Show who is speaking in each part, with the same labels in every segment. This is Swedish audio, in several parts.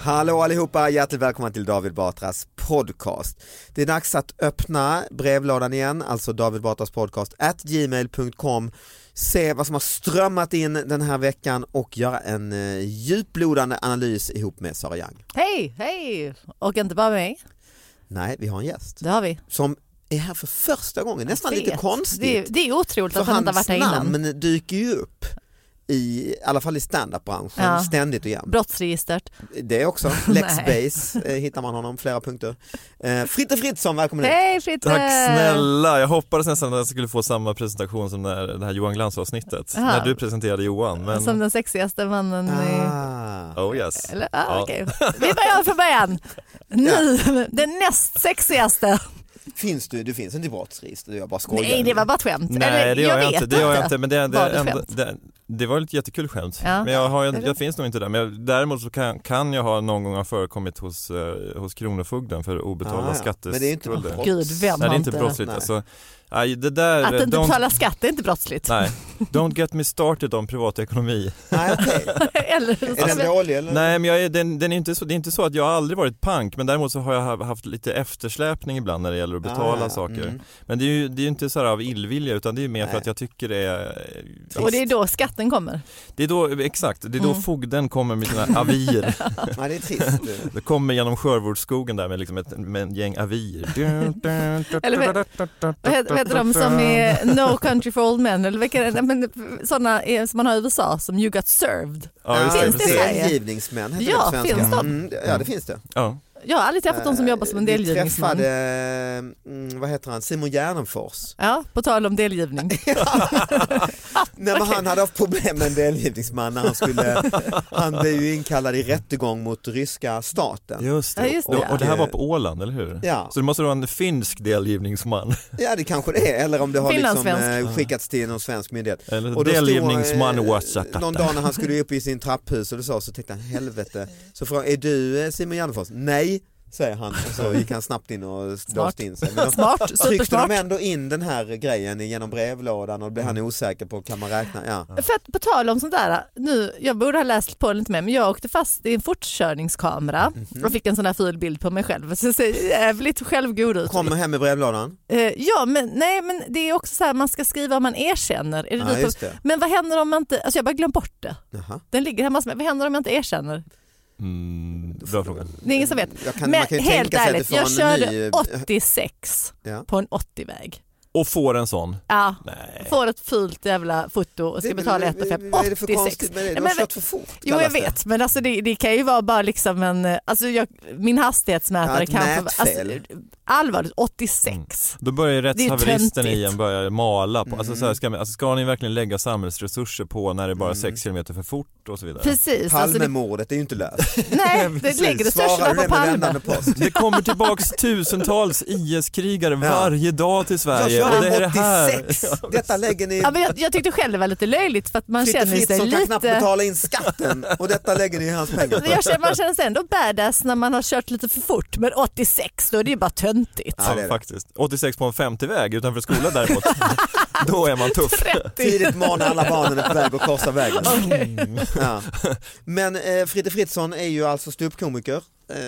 Speaker 1: Hallå allihopa, hjärtligt välkomna till David Batras podcast. Det är dags att öppna brevlådan igen, alltså David Batras podcast at gmail.com se vad som har strömmat in den här veckan och göra en eh, djuplodande analys ihop med Sara Young.
Speaker 2: Hej, hej! Och inte bara mig,
Speaker 1: Nej, vi har en gäst
Speaker 2: det har vi.
Speaker 1: som är här för första gången, nästan lite
Speaker 2: Vet.
Speaker 1: konstigt.
Speaker 2: Det är, det är otroligt
Speaker 1: För
Speaker 2: att han inte har
Speaker 1: hans
Speaker 2: varit här innan.
Speaker 1: namn dyker ju upp i, i alla fall i standup-branschen
Speaker 2: Ja.
Speaker 1: ständigt och jämt.
Speaker 2: Brottsregistret.
Speaker 1: Det också, Lexbase eh, hittar man honom, flera punkter. Eh, Fritte Fritzson, välkommen hit.
Speaker 2: Hej Fritte!
Speaker 3: Tack snälla, jag hoppades nästan att jag skulle få samma presentation som när, det här Johan Glans avsnittet
Speaker 2: Ja.
Speaker 3: när du presenterade Johan. Men...
Speaker 2: Som den sexigaste mannen i...
Speaker 1: Ah.
Speaker 3: Oh yes.
Speaker 2: Eller, ah,
Speaker 3: Ja.
Speaker 2: okej. Vi börjar från början. Ni, den näst sexigaste.
Speaker 1: Finns du, du finns inte i brottsregistret, jag bara skojar.
Speaker 2: Nej, det var bara ett skämt.
Speaker 3: Nej
Speaker 2: Eller,
Speaker 3: det gör jag,
Speaker 2: vet
Speaker 3: inte, det gör jag inte men det, det,
Speaker 2: Var det ett
Speaker 3: ändå-
Speaker 2: skämt?
Speaker 3: det, det var ett jättekul skämt.
Speaker 2: Ja.
Speaker 3: Men jag, har, jag,
Speaker 2: Eller?
Speaker 3: jag finns nog inte där men jag, däremot så kan, kan jag ha någon gång ha förekommit hos, eh, hos Kronofogden för obetalda
Speaker 1: Ah, ja.
Speaker 3: skatteskulder.
Speaker 1: Men det är inte brott.
Speaker 2: Gud, vem
Speaker 3: Nej det
Speaker 2: har
Speaker 3: är inte brottsligt
Speaker 1: Nej.
Speaker 3: alltså. Nej, det där,
Speaker 2: Att inte
Speaker 3: don't,
Speaker 2: betala skatt är inte brottsligt.
Speaker 3: nej, don't get me started om privatekonomi.
Speaker 1: Nej, okej.
Speaker 2: Eller, så
Speaker 1: Är
Speaker 3: Alltså,
Speaker 2: ska vi-
Speaker 1: den dålig eller? Ah,
Speaker 3: Nej men jag är, den, den är inte så, det är inte så att jag har aldrig varit pank men däremot så har jag ha- haft lite eftersläpning ibland när det gäller att betala
Speaker 1: Ah, ja.
Speaker 3: saker.
Speaker 1: Mm.
Speaker 3: Men det är ju det är ju inte så här av illvilja utan det är ju mer för
Speaker 1: Nej.
Speaker 3: att jag tycker det är... eh,
Speaker 2: och det är då skatten kommer.
Speaker 3: det är då, exakt, det är då
Speaker 2: Mm.
Speaker 3: fogden kommer med sina avier.
Speaker 1: Nej, det är trist.
Speaker 3: det kommer genom Skörvårdsskogen där med, liksom ett, med en gäng avier.
Speaker 2: Eller Vad heter, vad heter de som är No Country for Old Men eller vilka, nej, men, sådana är, som man har i USA som You Got Served.
Speaker 3: Ja, just det,
Speaker 2: Finns det i
Speaker 3: precis.
Speaker 2: Sverige?
Speaker 1: Delgivningsmän heter
Speaker 2: Ja,
Speaker 1: det på svenska.
Speaker 2: finns de?
Speaker 1: Mm, ja, det finns det.
Speaker 3: Ja.
Speaker 2: Jag har aldrig träffat någon som jobbar som en
Speaker 1: Eh,
Speaker 2: delgivningsman.
Speaker 1: Vi träffade, mm, vad heter han, Simon Gärdenfors.
Speaker 2: Ja, på tal om delgivning.
Speaker 1: Nej, men han hade haft problem med en delgivningsman när han skulle, han blev ju inkallad i rättegång mot ryska staten.
Speaker 3: Just
Speaker 2: Ja, just det,
Speaker 3: och,
Speaker 2: ja.
Speaker 3: och det här var på Åland, eller hur?
Speaker 1: Ja.
Speaker 3: Så det måste vara en finsk delgivningsman.
Speaker 1: Ja det kanske det är, eller om det har liksom,
Speaker 2: Finlandssvensk.
Speaker 1: eh, skickats till någon svensk myndighet.
Speaker 3: Eller
Speaker 1: Och då stod, eh,
Speaker 3: delgivningsman Ouattara.
Speaker 1: Någon dag när han skulle upp i sin trapphus och det sa så tänkte han helvete. Så frågade är du eh, Simon Gärdenfors? Nej, säger han. Och så gick han snabbt in och låste in sig. Men de-
Speaker 2: Smart,
Speaker 1: Tryckte
Speaker 2: supersmart.
Speaker 1: de ändå in den här grejen genom brevlådan och då blev han
Speaker 2: Mm.
Speaker 1: osäker på kan man räkna? Ja.
Speaker 2: För att på tal om sånt där, nu, jag borde ha läst på lite mer, men jag åkte fast i en fortkörningskamera
Speaker 1: Mhm.
Speaker 2: och fick en sån här ful bild på mig själv. Så jag ser jävligt självgod ut.
Speaker 1: Kommer hem med brevlådan?
Speaker 2: Eh, ja, men, nej, men det är också så här, man ska skriva om man erkänner. Är det
Speaker 1: Ja,
Speaker 2: du på-
Speaker 1: just det.
Speaker 2: Men vad händer om man inte, alltså jag bara glömt bort det.
Speaker 1: Jaha.
Speaker 2: Den ligger hemma hos mig. Vad händer om jag inte erkänner?
Speaker 3: Mm, bra fråga.
Speaker 2: Det är ingen som vet.
Speaker 1: Jag kan,
Speaker 2: men
Speaker 1: man kan ju
Speaker 2: helt
Speaker 1: tänka sig att det
Speaker 2: ärligt,
Speaker 1: får
Speaker 2: jag
Speaker 1: en
Speaker 2: körde
Speaker 1: ny...
Speaker 2: 86
Speaker 1: Ja.
Speaker 2: på en 80-väg.
Speaker 3: och får en sån.
Speaker 2: Ja.
Speaker 3: Nej.
Speaker 2: Får ett fult jävla foto och ska betala 1 5
Speaker 1: Vad är Eh. det för
Speaker 2: 86.
Speaker 1: konstigt med det?
Speaker 2: Nej,
Speaker 1: Du
Speaker 2: men-
Speaker 1: har kört för fort
Speaker 2: Jo jag
Speaker 1: kallas det.
Speaker 2: vet men alltså det, det kan ju vara bara liksom en, eh, alltså jag, min
Speaker 1: Ja,
Speaker 2: hastighetsmätare
Speaker 1: ett
Speaker 2: kan alltså,
Speaker 1: mätfel. Mm.
Speaker 2: allvarligt 86.
Speaker 3: Då börjar ju
Speaker 2: ju
Speaker 3: rättshaveristen
Speaker 2: töntigt. Mm.
Speaker 3: i en börja mala på, alltså, så här, ska, man- alltså, ska ni verkligen lägga samhällsresurser på när det är bara 6 km för fort och så vidare?
Speaker 2: Precis, alltså det,
Speaker 1: Palmemordet är ju inte löst.
Speaker 2: nej det
Speaker 1: Precis.
Speaker 2: lägger resurserna
Speaker 1: Svarar du
Speaker 2: på
Speaker 1: det med
Speaker 2: Palme.
Speaker 1: vändande post?
Speaker 3: Alltså, Det kommer tillbaks tusentals IS-krigare varje dag till
Speaker 1: Jag
Speaker 3: Sverige och
Speaker 1: kör
Speaker 3: det är det här.
Speaker 1: en 86, detta lägger ni
Speaker 2: Ja, men jag, jag tyckte själv det var lite löjligt för att man
Speaker 1: Fritte
Speaker 2: känner sig
Speaker 1: Fritzson kan knappt
Speaker 2: lite
Speaker 1: betala in skatten och detta lägger ni i hans pengar på.
Speaker 2: jag känner, man känner sig ändå badass när man har kört lite för fort men 86 då är det ju bara töntigt.
Speaker 1: Ja, det är
Speaker 3: Ja,
Speaker 1: det.
Speaker 3: faktiskt. 86 på en 50-väg utanför skolan däremot. Då är man tuff.
Speaker 1: Tidigt morgon alla barnen är på väg att korsa vägen.
Speaker 3: Mm,
Speaker 1: Ja. Men eh, Fritte Fritzson är ju alltså ståuppkomiker.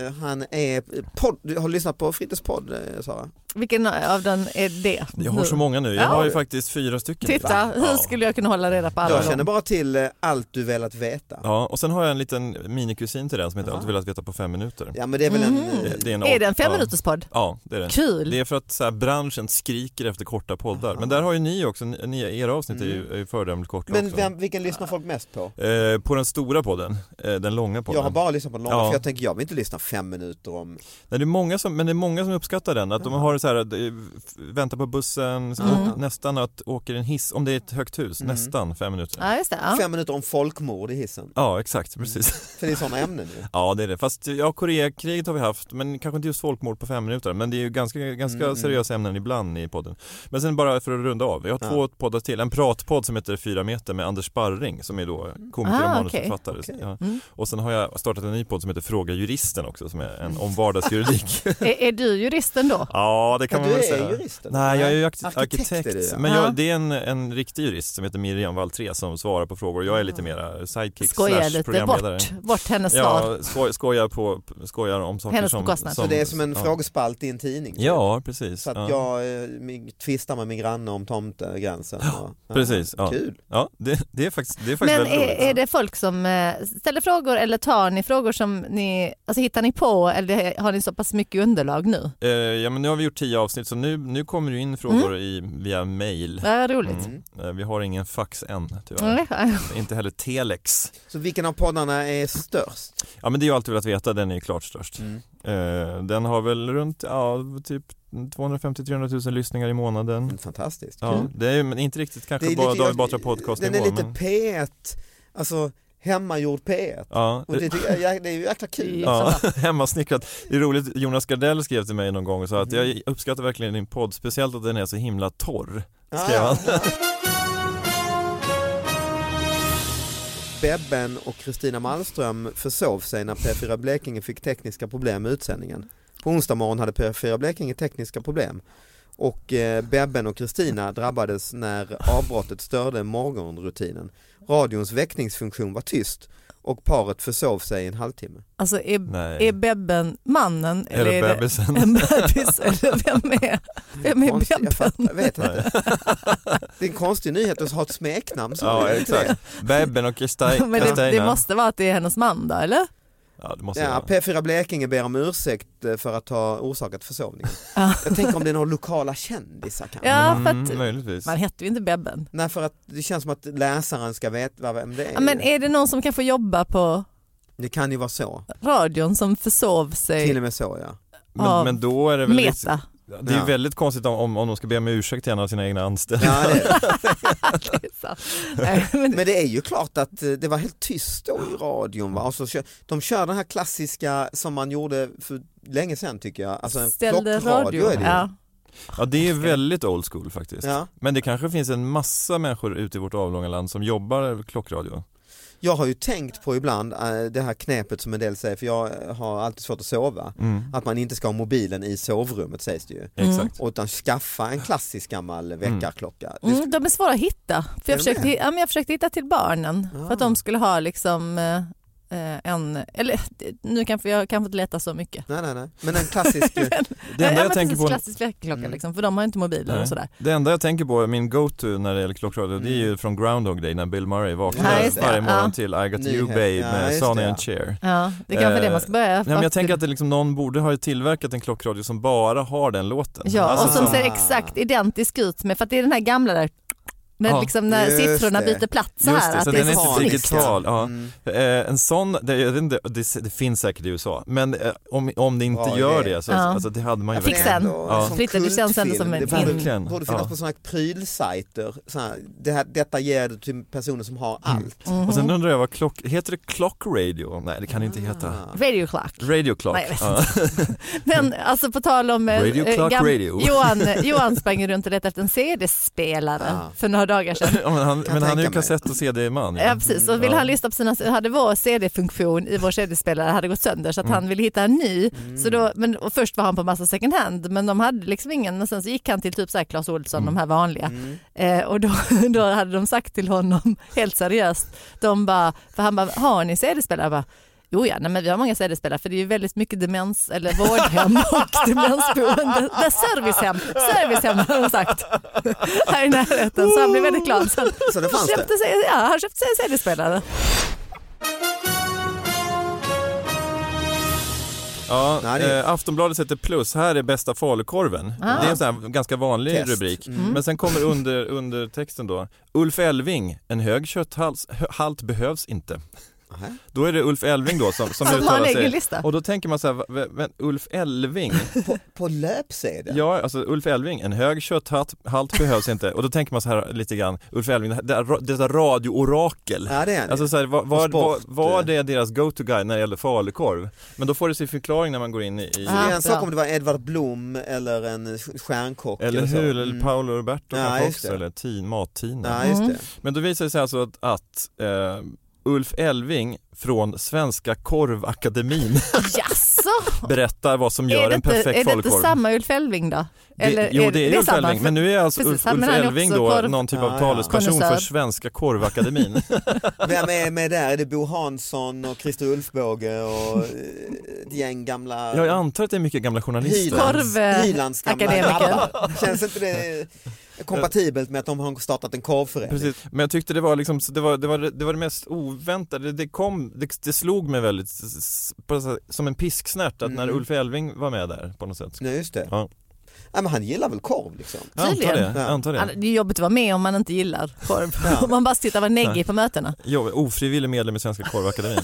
Speaker 1: Eh, han är podd, du har lyssnat på Frittes podd eh, Sara?
Speaker 2: Vilken av den är det?
Speaker 3: Jag har
Speaker 2: nu?
Speaker 3: så många nu, jag
Speaker 2: Ja.
Speaker 3: har ju faktiskt fyra stycken.
Speaker 2: Titta, hur skulle jag kunna hålla reda på alla
Speaker 1: Jag
Speaker 2: dem?
Speaker 1: känner bara till eh, allt du velat veta. Ja,
Speaker 3: Ja, och sen har jag en liten minikusin till den som heter Allt du velat veta på fem minuter.
Speaker 1: men det är väl en... eh,
Speaker 3: Mm. Det, det en
Speaker 2: Är det en
Speaker 3: art-
Speaker 2: femminuterspodd?
Speaker 3: Ja, det är det.
Speaker 2: Kul!
Speaker 3: Det är för att så här, branschen skriker efter korta poddar. Men där har ju ni också, ni- ni, era avsnitt är ju, är ju föredömligt korta
Speaker 1: Mm. Men
Speaker 3: också.
Speaker 1: vem, vilken lyssnar folk mest på?
Speaker 3: Eh, på den stora podden, eh, den långa podden.
Speaker 1: Jag har bara lyssnat på några
Speaker 3: Ja.
Speaker 1: för jag tänker jag vill inte lyssna fem minuter om...
Speaker 3: Nej, det är många som, men det är många som uppskattar den, att de har så här, att, eh, f- väntar på bussen,
Speaker 1: Mm.
Speaker 3: så å- nästan att åker i en hiss, om det är ett högt hus, nästan fem minuter.
Speaker 2: Ja, just det. Ja.
Speaker 1: Fem minuter om folkmord i hissen.
Speaker 3: Ja, exakt, precis.
Speaker 1: För det är sådana ämnen ju.
Speaker 3: Ja, det är det. Fast ja, Koreakriget har vi haft, men kanske inte just folkmord på fem minuter, men det är ju ganska, ganska
Speaker 1: Mm,
Speaker 3: seriösa ämnen ibland i podden. Men sen bara för att runda av, jag har två poddar till, en pratpodd som heter Fyra meter med Anders Sparring som är då
Speaker 1: Mm.
Speaker 3: komiker och
Speaker 2: Ah,
Speaker 3: manusförfattare. Ja. Och sen har jag startat en ny podd som heter Fråga juristen också, som är en om vardagsjuridik.
Speaker 2: Är, är du juristen då?
Speaker 3: Ja, det kan
Speaker 1: Ja,
Speaker 3: man
Speaker 1: du
Speaker 3: väl
Speaker 1: är
Speaker 3: säga.
Speaker 1: jurist, eller?
Speaker 3: Nej, jag är ju
Speaker 1: Nej,
Speaker 3: ark- arkitekt.
Speaker 1: arkitekt är du, ja.
Speaker 3: Men jag,
Speaker 2: Ja.
Speaker 3: det är en, en riktig jurist som heter Miriam Valtré som svarar på frågor. Jag är
Speaker 1: Ah.
Speaker 3: lite mera sidekick
Speaker 2: Skojar
Speaker 3: slash
Speaker 2: lite
Speaker 3: programledare.
Speaker 2: bort, bort hennes svar.
Speaker 3: Ja, sko- skojar, på, skojar om saker
Speaker 2: Hennes
Speaker 3: som,
Speaker 2: bekostnad.
Speaker 3: som...
Speaker 1: Så det är som en
Speaker 3: ja.
Speaker 1: frågespalt i en tidning.
Speaker 3: Ja, precis.
Speaker 1: Så
Speaker 3: ja.
Speaker 1: att jag eh, min- tvistar med min granne om tomtegränsen. och- Ja,
Speaker 3: Precis, ja.
Speaker 1: Kul.
Speaker 3: Ja, det, det är faktiskt, det är faktiskt
Speaker 2: Men
Speaker 3: väldigt
Speaker 2: är,
Speaker 3: roligt.
Speaker 2: är det folk som eh, ställer frågor eller tar ni frågor som ni, alltså hittar ni på eller har ni så pass mycket underlag nu?
Speaker 3: Eh, ja, men nu har vi gjort tio avsnitt så nu, nu kommer det in frågor
Speaker 2: Mm.
Speaker 3: i, via mail.
Speaker 2: Vad roligt.
Speaker 3: Mm. Eh, Vi har ingen fax än tyvärr.
Speaker 2: Mm.
Speaker 3: Inte heller telex.
Speaker 1: Så vilken av poddarna är störst?
Speaker 3: Ja men det är ju alltid velat veta, den är ju klart störst. Eh, den har väl runt ja, typ 250-300 000 lyssningar i månaden.
Speaker 1: Mm, Fantastiskt.
Speaker 3: Ja, det är ju men inte riktigt
Speaker 1: Det är
Speaker 3: kanske
Speaker 1: lite-
Speaker 3: bara David
Speaker 1: jag-
Speaker 3: Batra podcast
Speaker 1: Den är lite
Speaker 3: men,
Speaker 1: P1, alltså hemmagjord P1.
Speaker 3: Ja,
Speaker 1: Och det, tycker jag, det är ju jäkla kul.
Speaker 3: ja hemmasnickrat. Det är roligt, Jonas Gardell skrev till mig någon gång och sa att
Speaker 2: Mm.
Speaker 3: jag uppskattar verkligen din podd, speciellt att den är så himla torr. Skrev
Speaker 2: Ah.
Speaker 3: han.
Speaker 1: Bebben och Kristina Malmström försov sig när P4 Blekinge fick tekniska problem med utsändningen. På onsdag morgon hade P4 Blekinge tekniska problem och eh, Bebben och Kristina drabbades när avbrottet störde morgonrutinen. Radions väckningsfunktion var tyst och paret försov sig i en halvtimme.
Speaker 2: Alltså är,
Speaker 3: Nej.
Speaker 2: är Bebben mannen eller,
Speaker 3: Eller
Speaker 2: är det
Speaker 3: bebisen.
Speaker 2: en bebis eller vem är, vem är
Speaker 1: Konstigt, jag, fattar, jag
Speaker 2: Bebben?
Speaker 1: vet inte. Det är en konstig nyhet att ha ett smeknamn. som
Speaker 3: Ja,
Speaker 1: är det.
Speaker 3: exakt. Bebben och Kristina.
Speaker 2: Men det, det måste vara att det är hennes man då eller?
Speaker 3: Ja, det måste
Speaker 1: Ja,
Speaker 3: vara.
Speaker 1: P4 Blekinge ber om ursäkt eh, för att ha orsakat försovningen.
Speaker 2: Ja.
Speaker 1: Jag tänker om det är några lokala kändisar kanske.
Speaker 2: Ja, för
Speaker 3: Mm,
Speaker 2: att,
Speaker 3: möjligtvis.
Speaker 2: man heter ju inte Bebben.
Speaker 1: Nej för att det känns som att läsaren ska veta vem det är.
Speaker 2: Ja, Men är det någon som kanske jobbar på
Speaker 1: Det kan ju vara så,
Speaker 2: radion som försov sig
Speaker 1: till och med så ja.
Speaker 3: Men,
Speaker 2: av
Speaker 3: men då är det väl lite-
Speaker 2: Meta?
Speaker 3: Det är
Speaker 1: Ja.
Speaker 3: ju väldigt konstigt om- om, om de ska be om ursäkt till en av sina egna anställda.
Speaker 1: ja det,
Speaker 2: Det är sant. Nej, men
Speaker 1: men det är ju klart att eh, det var helt tyst då i radion. Va? Och så kör, de kör den här klassiska som man gjorde för länge sedan tycker jag. Alltså en
Speaker 2: ställde
Speaker 1: klockradio
Speaker 2: radio.
Speaker 1: är det ju.
Speaker 2: Ja.
Speaker 3: Ja, det är väldigt old school faktiskt.
Speaker 1: Ja.
Speaker 3: Men det kanske finns en massa människor ute i vårt avlånga land som jobbar klockradio.
Speaker 1: Jag har ju tänkt på ibland eh, det här knepet som en del säger, för jag har alltid svårt att sova. Att man inte ska ha mobilen i sovrummet sägs det ju.
Speaker 3: Exakt. Mm.
Speaker 1: Utan skaffa en klassisk gammal väckarklocka. Det
Speaker 2: Mm, de är svåra att hitta. För
Speaker 1: Är de
Speaker 2: jag, försökte,
Speaker 1: det?
Speaker 3: Ah.
Speaker 2: ja, men jag försökte hitta till barnen för att de skulle ha liksom eh, eh, en, eller det- nu kanske jag kanske inte letar så mycket.
Speaker 1: Nej, nej, nej. Men en klassisk... eh,
Speaker 3: Det
Speaker 2: ja,
Speaker 3: enda
Speaker 2: men
Speaker 3: jag tänker
Speaker 2: precis,
Speaker 3: på
Speaker 2: klassisk väckarklocka
Speaker 1: Mm.
Speaker 2: liksom, för de har ju inte mobiler
Speaker 3: Nej.
Speaker 2: och sådär. Mm.
Speaker 3: Det enda jag tänker på, min go-to när det gäller klockradio, det är ju från Groundhog Day när Bill Murray vaknar
Speaker 2: Ja, just det.
Speaker 3: varje morgon
Speaker 2: Ja.
Speaker 3: till I got you
Speaker 1: Nyhet.
Speaker 3: babe
Speaker 1: Ja,
Speaker 3: med
Speaker 1: just
Speaker 3: Sonny
Speaker 1: det, ja.
Speaker 3: and Cher.
Speaker 2: Ja, det är kanske
Speaker 3: Eh,
Speaker 2: det man ska börja.
Speaker 3: Nej, men jag
Speaker 2: faktiskt.
Speaker 3: tänker att det liksom, någon borde ha tillverkat en klockradio som bara har den låten.
Speaker 2: Ja,
Speaker 3: Alltså
Speaker 2: och som
Speaker 1: som-
Speaker 2: ser exakt identisk ut med, för att det är den här gamla där när,
Speaker 3: Ja.
Speaker 2: liksom, när
Speaker 1: Just
Speaker 2: siffrorna
Speaker 1: det.
Speaker 2: byter plats så
Speaker 3: Just
Speaker 2: här.
Speaker 3: det, så
Speaker 2: att
Speaker 3: den
Speaker 2: det
Speaker 3: är
Speaker 2: är så
Speaker 3: inte
Speaker 2: snyggt.
Speaker 3: digital. Ja.
Speaker 1: Mm.
Speaker 3: Eh, en sån, det, jag vet inte, det, det finns säkert i USA, men eh, om, om det inte
Speaker 1: Bra
Speaker 3: gör
Speaker 1: idé.
Speaker 3: det så
Speaker 2: Ja.
Speaker 3: alltså, det hade man ju
Speaker 2: Jag fick
Speaker 3: verkligen.
Speaker 1: Men
Speaker 2: sen.
Speaker 1: ändå,
Speaker 3: Ja.
Speaker 1: som
Speaker 2: Fritte, det känns ändå som en
Speaker 1: kultfilm. Det borde,
Speaker 3: in-
Speaker 1: borde finnas
Speaker 3: Ja.
Speaker 1: på sådana här prylsajter. Så här, det här, detta ger du till personer som har
Speaker 3: Mm.
Speaker 1: allt.
Speaker 2: Mm-hmm.
Speaker 3: Och sen undrar jag vad klock, heter det clock radio? Nej det kan det inte heta.
Speaker 1: Ah.
Speaker 2: Radio Clark.
Speaker 3: Radio clock.
Speaker 2: Ah. Nej, jag vet
Speaker 3: Ja.
Speaker 2: Men alltså på tal om... eh,
Speaker 3: Radio Clark
Speaker 2: gam-
Speaker 3: Radio.
Speaker 2: Johan, Johan sprang ju runt och letade efter en CD-spelare
Speaker 3: Ah.
Speaker 1: Ja.
Speaker 2: för några dagar sedan.
Speaker 3: Ja, men han,
Speaker 1: Kan
Speaker 3: men han är
Speaker 1: tänka
Speaker 3: ju
Speaker 1: mig.
Speaker 3: kassett och CD-man.
Speaker 2: Ja, precis. Och vill han lyssna på sina, hade vår CD-funktion i vår CD-spelare hade gått sönder så att han ville hitta en ny. Så då, men, och först var han på massa second hand men de hade liksom ingen, men sen så gick han till typ så här Clas Ohlson, de här vanliga. Eh, och då, då hade de sagt till honom, helt seriöst, de bara, för han bara, har ni CD-spelare? Jag bara, Jo ja, nej, men vi har många CD-spelare för det är ju väldigt mycket demens eller vårdhem och demensboende. Nej, servicehem, servicehem har de sagt här i närheten så han blev väldigt glad. Så han,
Speaker 1: Så det fanns det.
Speaker 2: köpte sig, ja, han köpte sig en CD-spelare.
Speaker 3: Ja,
Speaker 1: Nej, det är- Ah.
Speaker 3: eh, Aftonbladet sätter plus, här är bästa falukorven. Det är en sån här ganska vanlig
Speaker 1: Test. Mm.
Speaker 3: rubrik. Men sen kommer under, under texten då, Ulf Elving, en hög kötthals hö- halt behövs inte.
Speaker 1: Aha.
Speaker 3: Då är det Ulf Elving då som, som
Speaker 2: Som har en
Speaker 3: uttalar
Speaker 2: egen
Speaker 3: sig.
Speaker 2: lista.
Speaker 3: Och då tänker man så här, va- va- men Ulf Elving,
Speaker 1: På, på löpsedeln?
Speaker 3: ja alltså Ulf Elving, en hög kötthalt halt behövs inte. Och då tänker man så här lite grann, Ulf Elving, det här, ra- detta radioorakel.
Speaker 1: Ja, det är han
Speaker 3: Alltså
Speaker 1: ju.
Speaker 3: så här, var, var,
Speaker 1: Och sport.
Speaker 3: var, var det deras go-to-guy när det gäller falukorv? Men då får det sin förklaring när man går in i, i
Speaker 1: Det
Speaker 2: Ah,
Speaker 1: är en sak
Speaker 2: bra.
Speaker 1: om det var Edvard Blom eller en stjärnkock
Speaker 3: Eller
Speaker 1: så.
Speaker 3: hur, eller
Speaker 1: Mm.
Speaker 3: Paolo
Speaker 1: Ja,
Speaker 3: Roberto kanske
Speaker 1: just
Speaker 3: också,
Speaker 1: det.
Speaker 3: eller tin, mattina.
Speaker 1: Ja, just det.
Speaker 3: Men då visar det sig alltså att, att eh, Ulf Elving från Svenska Korvakademin
Speaker 2: Jaså?
Speaker 3: berättar vad som
Speaker 2: Är
Speaker 3: gör
Speaker 2: det,
Speaker 3: en
Speaker 2: inte,
Speaker 3: perfekt
Speaker 2: är det inte
Speaker 3: falukorv.
Speaker 2: samma Ulf Elving då? Eller
Speaker 3: jo, det är, Ulf
Speaker 2: samma?
Speaker 3: Elving, men nu är alltså
Speaker 2: Precis,
Speaker 3: Ulf,
Speaker 2: han- men
Speaker 3: Ulf
Speaker 2: han är
Speaker 3: Elving
Speaker 2: också
Speaker 3: då
Speaker 2: korv-
Speaker 3: någon typ av
Speaker 1: Ja, ja.
Speaker 3: talesperson för
Speaker 2: Konnässör.
Speaker 3: Svenska Korvakademin.
Speaker 1: Vem är med där? Är det Bo Hansson och Christer Ulfbåge och eh, ett gäng gamla...
Speaker 3: Jag antar att det är mycket gamla journalister.
Speaker 2: Korv-
Speaker 1: Hylands, Hylands gamla
Speaker 2: akademiker.
Speaker 1: grabbar. Känns inte det kompatibelt med att de har startat en korvförening?
Speaker 3: Precis. Men jag tyckte det var, liksom, det, var, det, var, det var det mest oväntade, det, kom, det, det slog mig väldigt s- s- på något sätt, som en pisksnärt att när
Speaker 1: Mm.
Speaker 3: Ulf Elving var med där på något sätt.
Speaker 1: Nej, just det.
Speaker 3: Ja.
Speaker 1: Nej, men han gillar väl korv liksom?
Speaker 3: Jag antar det.
Speaker 2: Tydligen.
Speaker 3: Jag antar
Speaker 2: Ja,
Speaker 3: det.
Speaker 2: Det är jobbigt att vara med om man inte gillar korv. Om man bara sitter och var
Speaker 3: Nej.
Speaker 2: neggig på mötena.
Speaker 3: Jo, ofrivillig medlem i Svenska Korvakademin.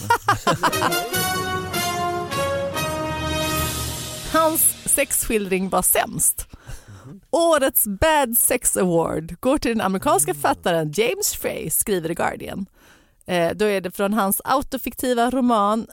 Speaker 2: Hans sexskildring var sämst. Årets Bad Sex Award går till den amerikanska författaren James Frey, skriver The Guardian. Eh, då är det från hans autofiktiva roman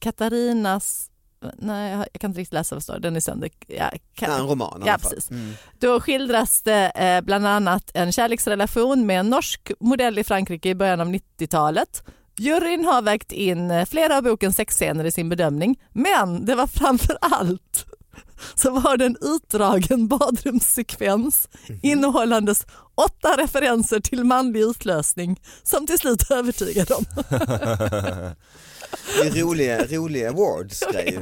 Speaker 2: Katarinas... Nej, jag har- jag kan inte riktigt läsa vad det står. Den är sönder. Ja, Ka-
Speaker 1: Ja, en roman i
Speaker 2: Ja,
Speaker 1: alla fall.
Speaker 2: precis.
Speaker 1: Mm.
Speaker 2: Då skildras det eh, bland annat en kärleksrelation med en norsk modell i Frankrike i början av 90-talet. Juryn har vägt in eh, flera av bokens sexscener i sin bedömning, men det var framför allt så var det en utdragen badrumssekvens
Speaker 3: Mhm.
Speaker 2: innehållandes åtta referenser till manlig utlösning som till slut övertygade dem.
Speaker 1: Det är roliga, roliga awards grejer.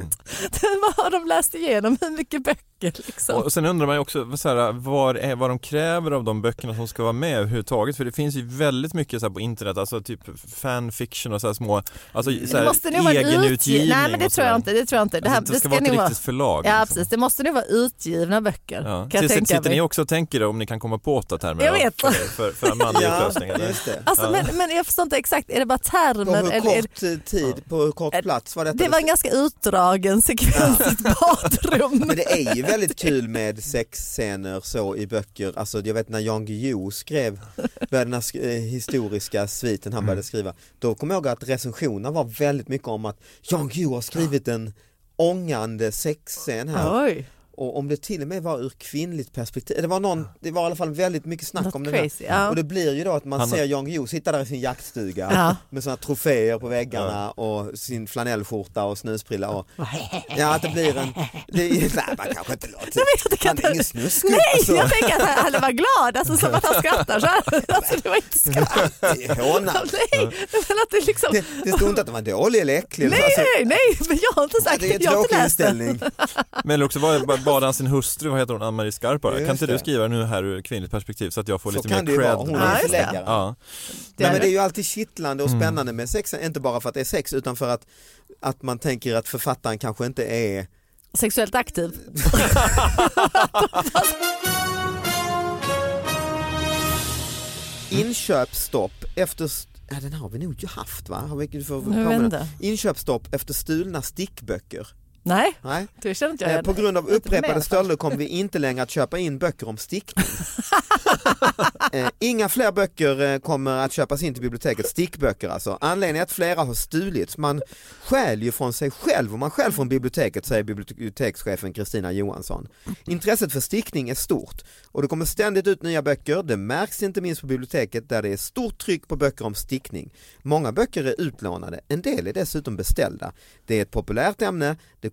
Speaker 2: Det var de läst igenom hur mycket böcker liksom.
Speaker 3: Och sen undrar man ju också vad så här, vad, är, vad de kräver av de böckerna som ska vara med överhuvudtaget. För det finns ju väldigt mycket så här på internet, alltså typ fanfiction och så här små, alltså så
Speaker 2: Mm, Det
Speaker 3: här,
Speaker 2: måste nog vara en
Speaker 3: egenutgivning.
Speaker 2: utgiv- Nej men det
Speaker 3: och så
Speaker 2: tror
Speaker 3: där.
Speaker 2: jag inte. Det tror jag inte. Det, här,
Speaker 3: alltså, det ska
Speaker 2: det
Speaker 3: vara ett
Speaker 2: nog vara-
Speaker 3: riktigt förlag.
Speaker 2: Ja
Speaker 3: liksom.
Speaker 2: precis, det måste nu vara utgivna böcker.
Speaker 3: Ja.
Speaker 2: Kan jag
Speaker 3: Sitter,
Speaker 2: tänka
Speaker 3: sitter
Speaker 2: mig.
Speaker 3: ni också och tänker det om ni kan komma på åtta termer
Speaker 2: Jag
Speaker 3: va?
Speaker 2: vet.
Speaker 3: för, för, för manlig utlösning?
Speaker 1: Ja,
Speaker 3: eller?
Speaker 1: just det.
Speaker 2: Alltså, men, men jag förstår inte exakt, är det bara
Speaker 1: På
Speaker 2: termer?
Speaker 1: hur
Speaker 2: Eller, är,
Speaker 1: kort eh, tid, på hur kort plats var detta?
Speaker 2: det var en ganska utdragen sekvens i ett badrum.
Speaker 1: Men det är ju väldigt kul med sexscener så i böcker. Alltså jag vet när Jan Guillou skrev började den här sk- eh, historiska sviten han började skriva. Då kommer jag ihåg att recensionerna var väldigt mycket om att Jan Guillou har skrivit en ångande sexscen här.
Speaker 2: Oj.
Speaker 1: och om det till och med var ur kvinnligt perspektiv. Det var, någon, det var i alla fall väldigt mycket snack
Speaker 2: Något
Speaker 1: om det där.
Speaker 2: crazy. Ja.
Speaker 1: Och det blir ju då att man
Speaker 3: Han-
Speaker 1: ser Jan Guillou sitta där i sin jaktstuga
Speaker 2: Ja.
Speaker 1: med sådana troféer på väggarna och sin flanellskjorta och snusbrilla. Och, ja, att det blir en... Det, nej, man kanske inte låter...
Speaker 2: det kan
Speaker 1: Han
Speaker 2: inte-
Speaker 1: är ingen snuskig.
Speaker 2: Nej,
Speaker 1: alltså.
Speaker 2: jag tänker att han- han var glad, alltså som att han skrattar så här. Alltså det var inte skratt.
Speaker 1: Det är hånad.
Speaker 2: Nej, men att det liksom...
Speaker 1: Det, det stod inte att den var dålig eller äcklig.
Speaker 2: Nej,
Speaker 1: Alltså,
Speaker 2: nej, nej, men jag har inte sagt
Speaker 1: det är en
Speaker 2: jag har inte
Speaker 1: tråkig
Speaker 2: läst det.
Speaker 1: inställning.
Speaker 3: Men eller också var- bara- bad han sin hustru, vad heter hon, Ann-Marie Skarp bara,
Speaker 1: Just
Speaker 3: kan inte
Speaker 1: det.
Speaker 3: du skriva nu här ur kvinnligt perspektiv så att jag får
Speaker 1: Så
Speaker 3: lite
Speaker 1: kan det
Speaker 3: mer
Speaker 1: ju
Speaker 3: cred?
Speaker 1: vara, hon
Speaker 2: Ja,
Speaker 1: är
Speaker 2: just det.
Speaker 1: förläggare.
Speaker 3: ja.
Speaker 1: Nej, men det är ju alltid kittlande och spännande med sex, inte bara för att det är sex utan för att, att man tänker att författaren kanske inte är
Speaker 2: Sexuellt aktiv.
Speaker 1: inköpsstopp efter, ja den har vi nog ju haft va? Har vi, du får
Speaker 2: Nu
Speaker 1: påminna.
Speaker 2: vänder.
Speaker 1: Inköpsstopp efter stulna stickböcker.
Speaker 2: Nej,
Speaker 1: Nej.
Speaker 2: det känner inte jag.
Speaker 1: Eh,
Speaker 2: igen.
Speaker 1: På grund av
Speaker 2: Inte med i alla
Speaker 1: upprepade
Speaker 2: fall.
Speaker 1: stölder kommer vi inte längre att köpa in böcker om stickning. Eh, Inga fler böcker eh, kommer att köpas in till biblioteket, stickböcker alltså. Anledningen är att flera har stulits. Man stjäl ju från sig själv och man stjäl från biblioteket säger bibliotekschefen Kristina Johansson. Intresset för stickning är stort och det kommer ständigt ut nya böcker. Det märks inte minst på biblioteket där det är stort tryck på böcker om stickning. Många böcker är utlånade, en del är dessutom beställda. Det är ett populärt ämne, det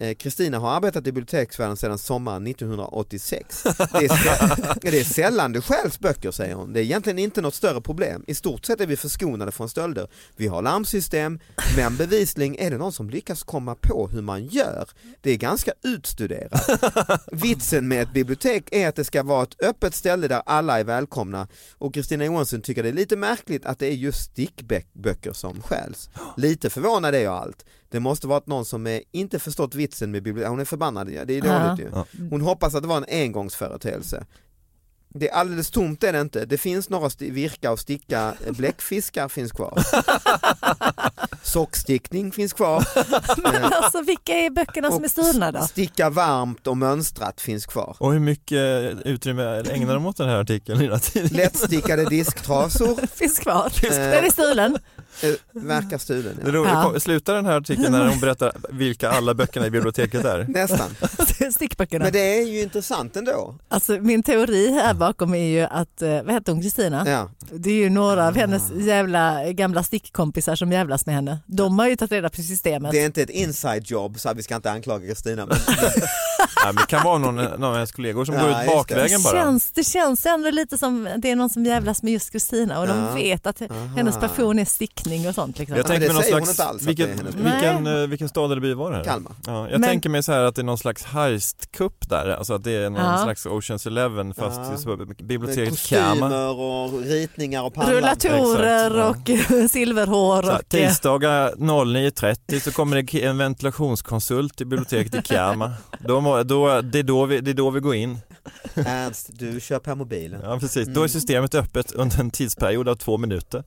Speaker 1: Eh, Kristina har arbetat i biblioteksvärlden sedan sommaren 1986. Det är, sä- det är sällan det stjäls böcker säger hon. Det är egentligen inte något större problem. I stort sett är vi förskonade från stölder. Vi har larmsystem men bevisligen är det någon som lyckas komma på hur man gör. Det är ganska utstuderat. Vitsen med ett bibliotek är att det ska vara ett öppet ställe där alla är välkomna och Kristina Johansson tycker det är lite märkligt att det är just stickböcker som stjäls. Lite förvånad är jag allt. Det måste varit någon som eh, inte förstått vitsen med biblioteket. Hon är förbannad, ja, det är dåligt
Speaker 3: Ja.
Speaker 1: ju. Hon hoppas att det var en engångsföreteelse. Det är alldeles tomt är det inte. Det finns några sti- virka och sticka eh, bläckfiskar finns kvar. Sockstickning finns kvar.
Speaker 2: Men alltså vilka är böckerna som är stulna då?
Speaker 1: Sticka varmt och mönstrat finns kvar.
Speaker 3: Och hur mycket utrymme ägnar de åt den här artikeln i den här tidningen?
Speaker 1: Lättstickade disktrasor
Speaker 2: Finns kvar? Den är stulen.
Speaker 1: eh, verkar stulen.
Speaker 3: Det
Speaker 1: Ja.
Speaker 3: roliga,
Speaker 2: Ja.
Speaker 3: kom- Slutar den här artikeln när hon berättar vilka alla böckerna i biblioteket är?
Speaker 1: Nästan.
Speaker 2: Stickböckerna.
Speaker 1: Men det är ju intressant ändå.
Speaker 2: Alltså, min teori här bakom är ju att, eh, vad heter hon, Kristina?
Speaker 1: Ja. Ah.
Speaker 2: Det är ju några av hennes jävla gamla stickkompisar som jävlas med henne. De har ju tagit reda på systemet.
Speaker 1: Det är inte ett inside job så här, vi ska inte anklaga Kristina. men-
Speaker 3: Nej, men det kan vara någon, någon av hennes kollegor som
Speaker 1: Ja,
Speaker 3: går
Speaker 1: just
Speaker 3: ut
Speaker 1: det.
Speaker 3: bakvägen
Speaker 2: det,
Speaker 3: bara.
Speaker 2: känns, det känns ändå lite som det är någon som jävlas med just Kristina och
Speaker 1: Ja.
Speaker 2: de vet att hennes passion är stickning och sånt. Liksom.
Speaker 3: Jag
Speaker 1: men
Speaker 3: tänker
Speaker 1: det
Speaker 3: mig någon
Speaker 1: säger hon
Speaker 3: slags,
Speaker 1: inte alls att det är
Speaker 3: vilken,
Speaker 1: hennes
Speaker 3: vilken, eh, vilken stad eller by var det här?
Speaker 1: Kalmar.
Speaker 3: Ja, jag
Speaker 2: Men-
Speaker 3: tänker mig så här att det är någon slags heistkupp där, alltså att det är någon
Speaker 2: Ja.
Speaker 3: slags Ocean's Eleven fast
Speaker 1: Ja.
Speaker 3: i så-
Speaker 1: Med
Speaker 3: biblioteket Kama.
Speaker 1: kostymer och ritningar och pallar.
Speaker 2: Rullatorer
Speaker 3: Exakt,
Speaker 2: och silverhår.
Speaker 3: Så här,
Speaker 2: och, eh,
Speaker 3: Tisdagar 09.30 så kommer det ki- en ventilationskonsult i biblioteket i Kama. Då, må- då, det, är då vi, det är då vi går in.
Speaker 1: Ernst, du kör på mobilen.
Speaker 3: Ja, precis. Då är
Speaker 1: Mm.
Speaker 3: systemet öppet under en tidsperiod av två minuter.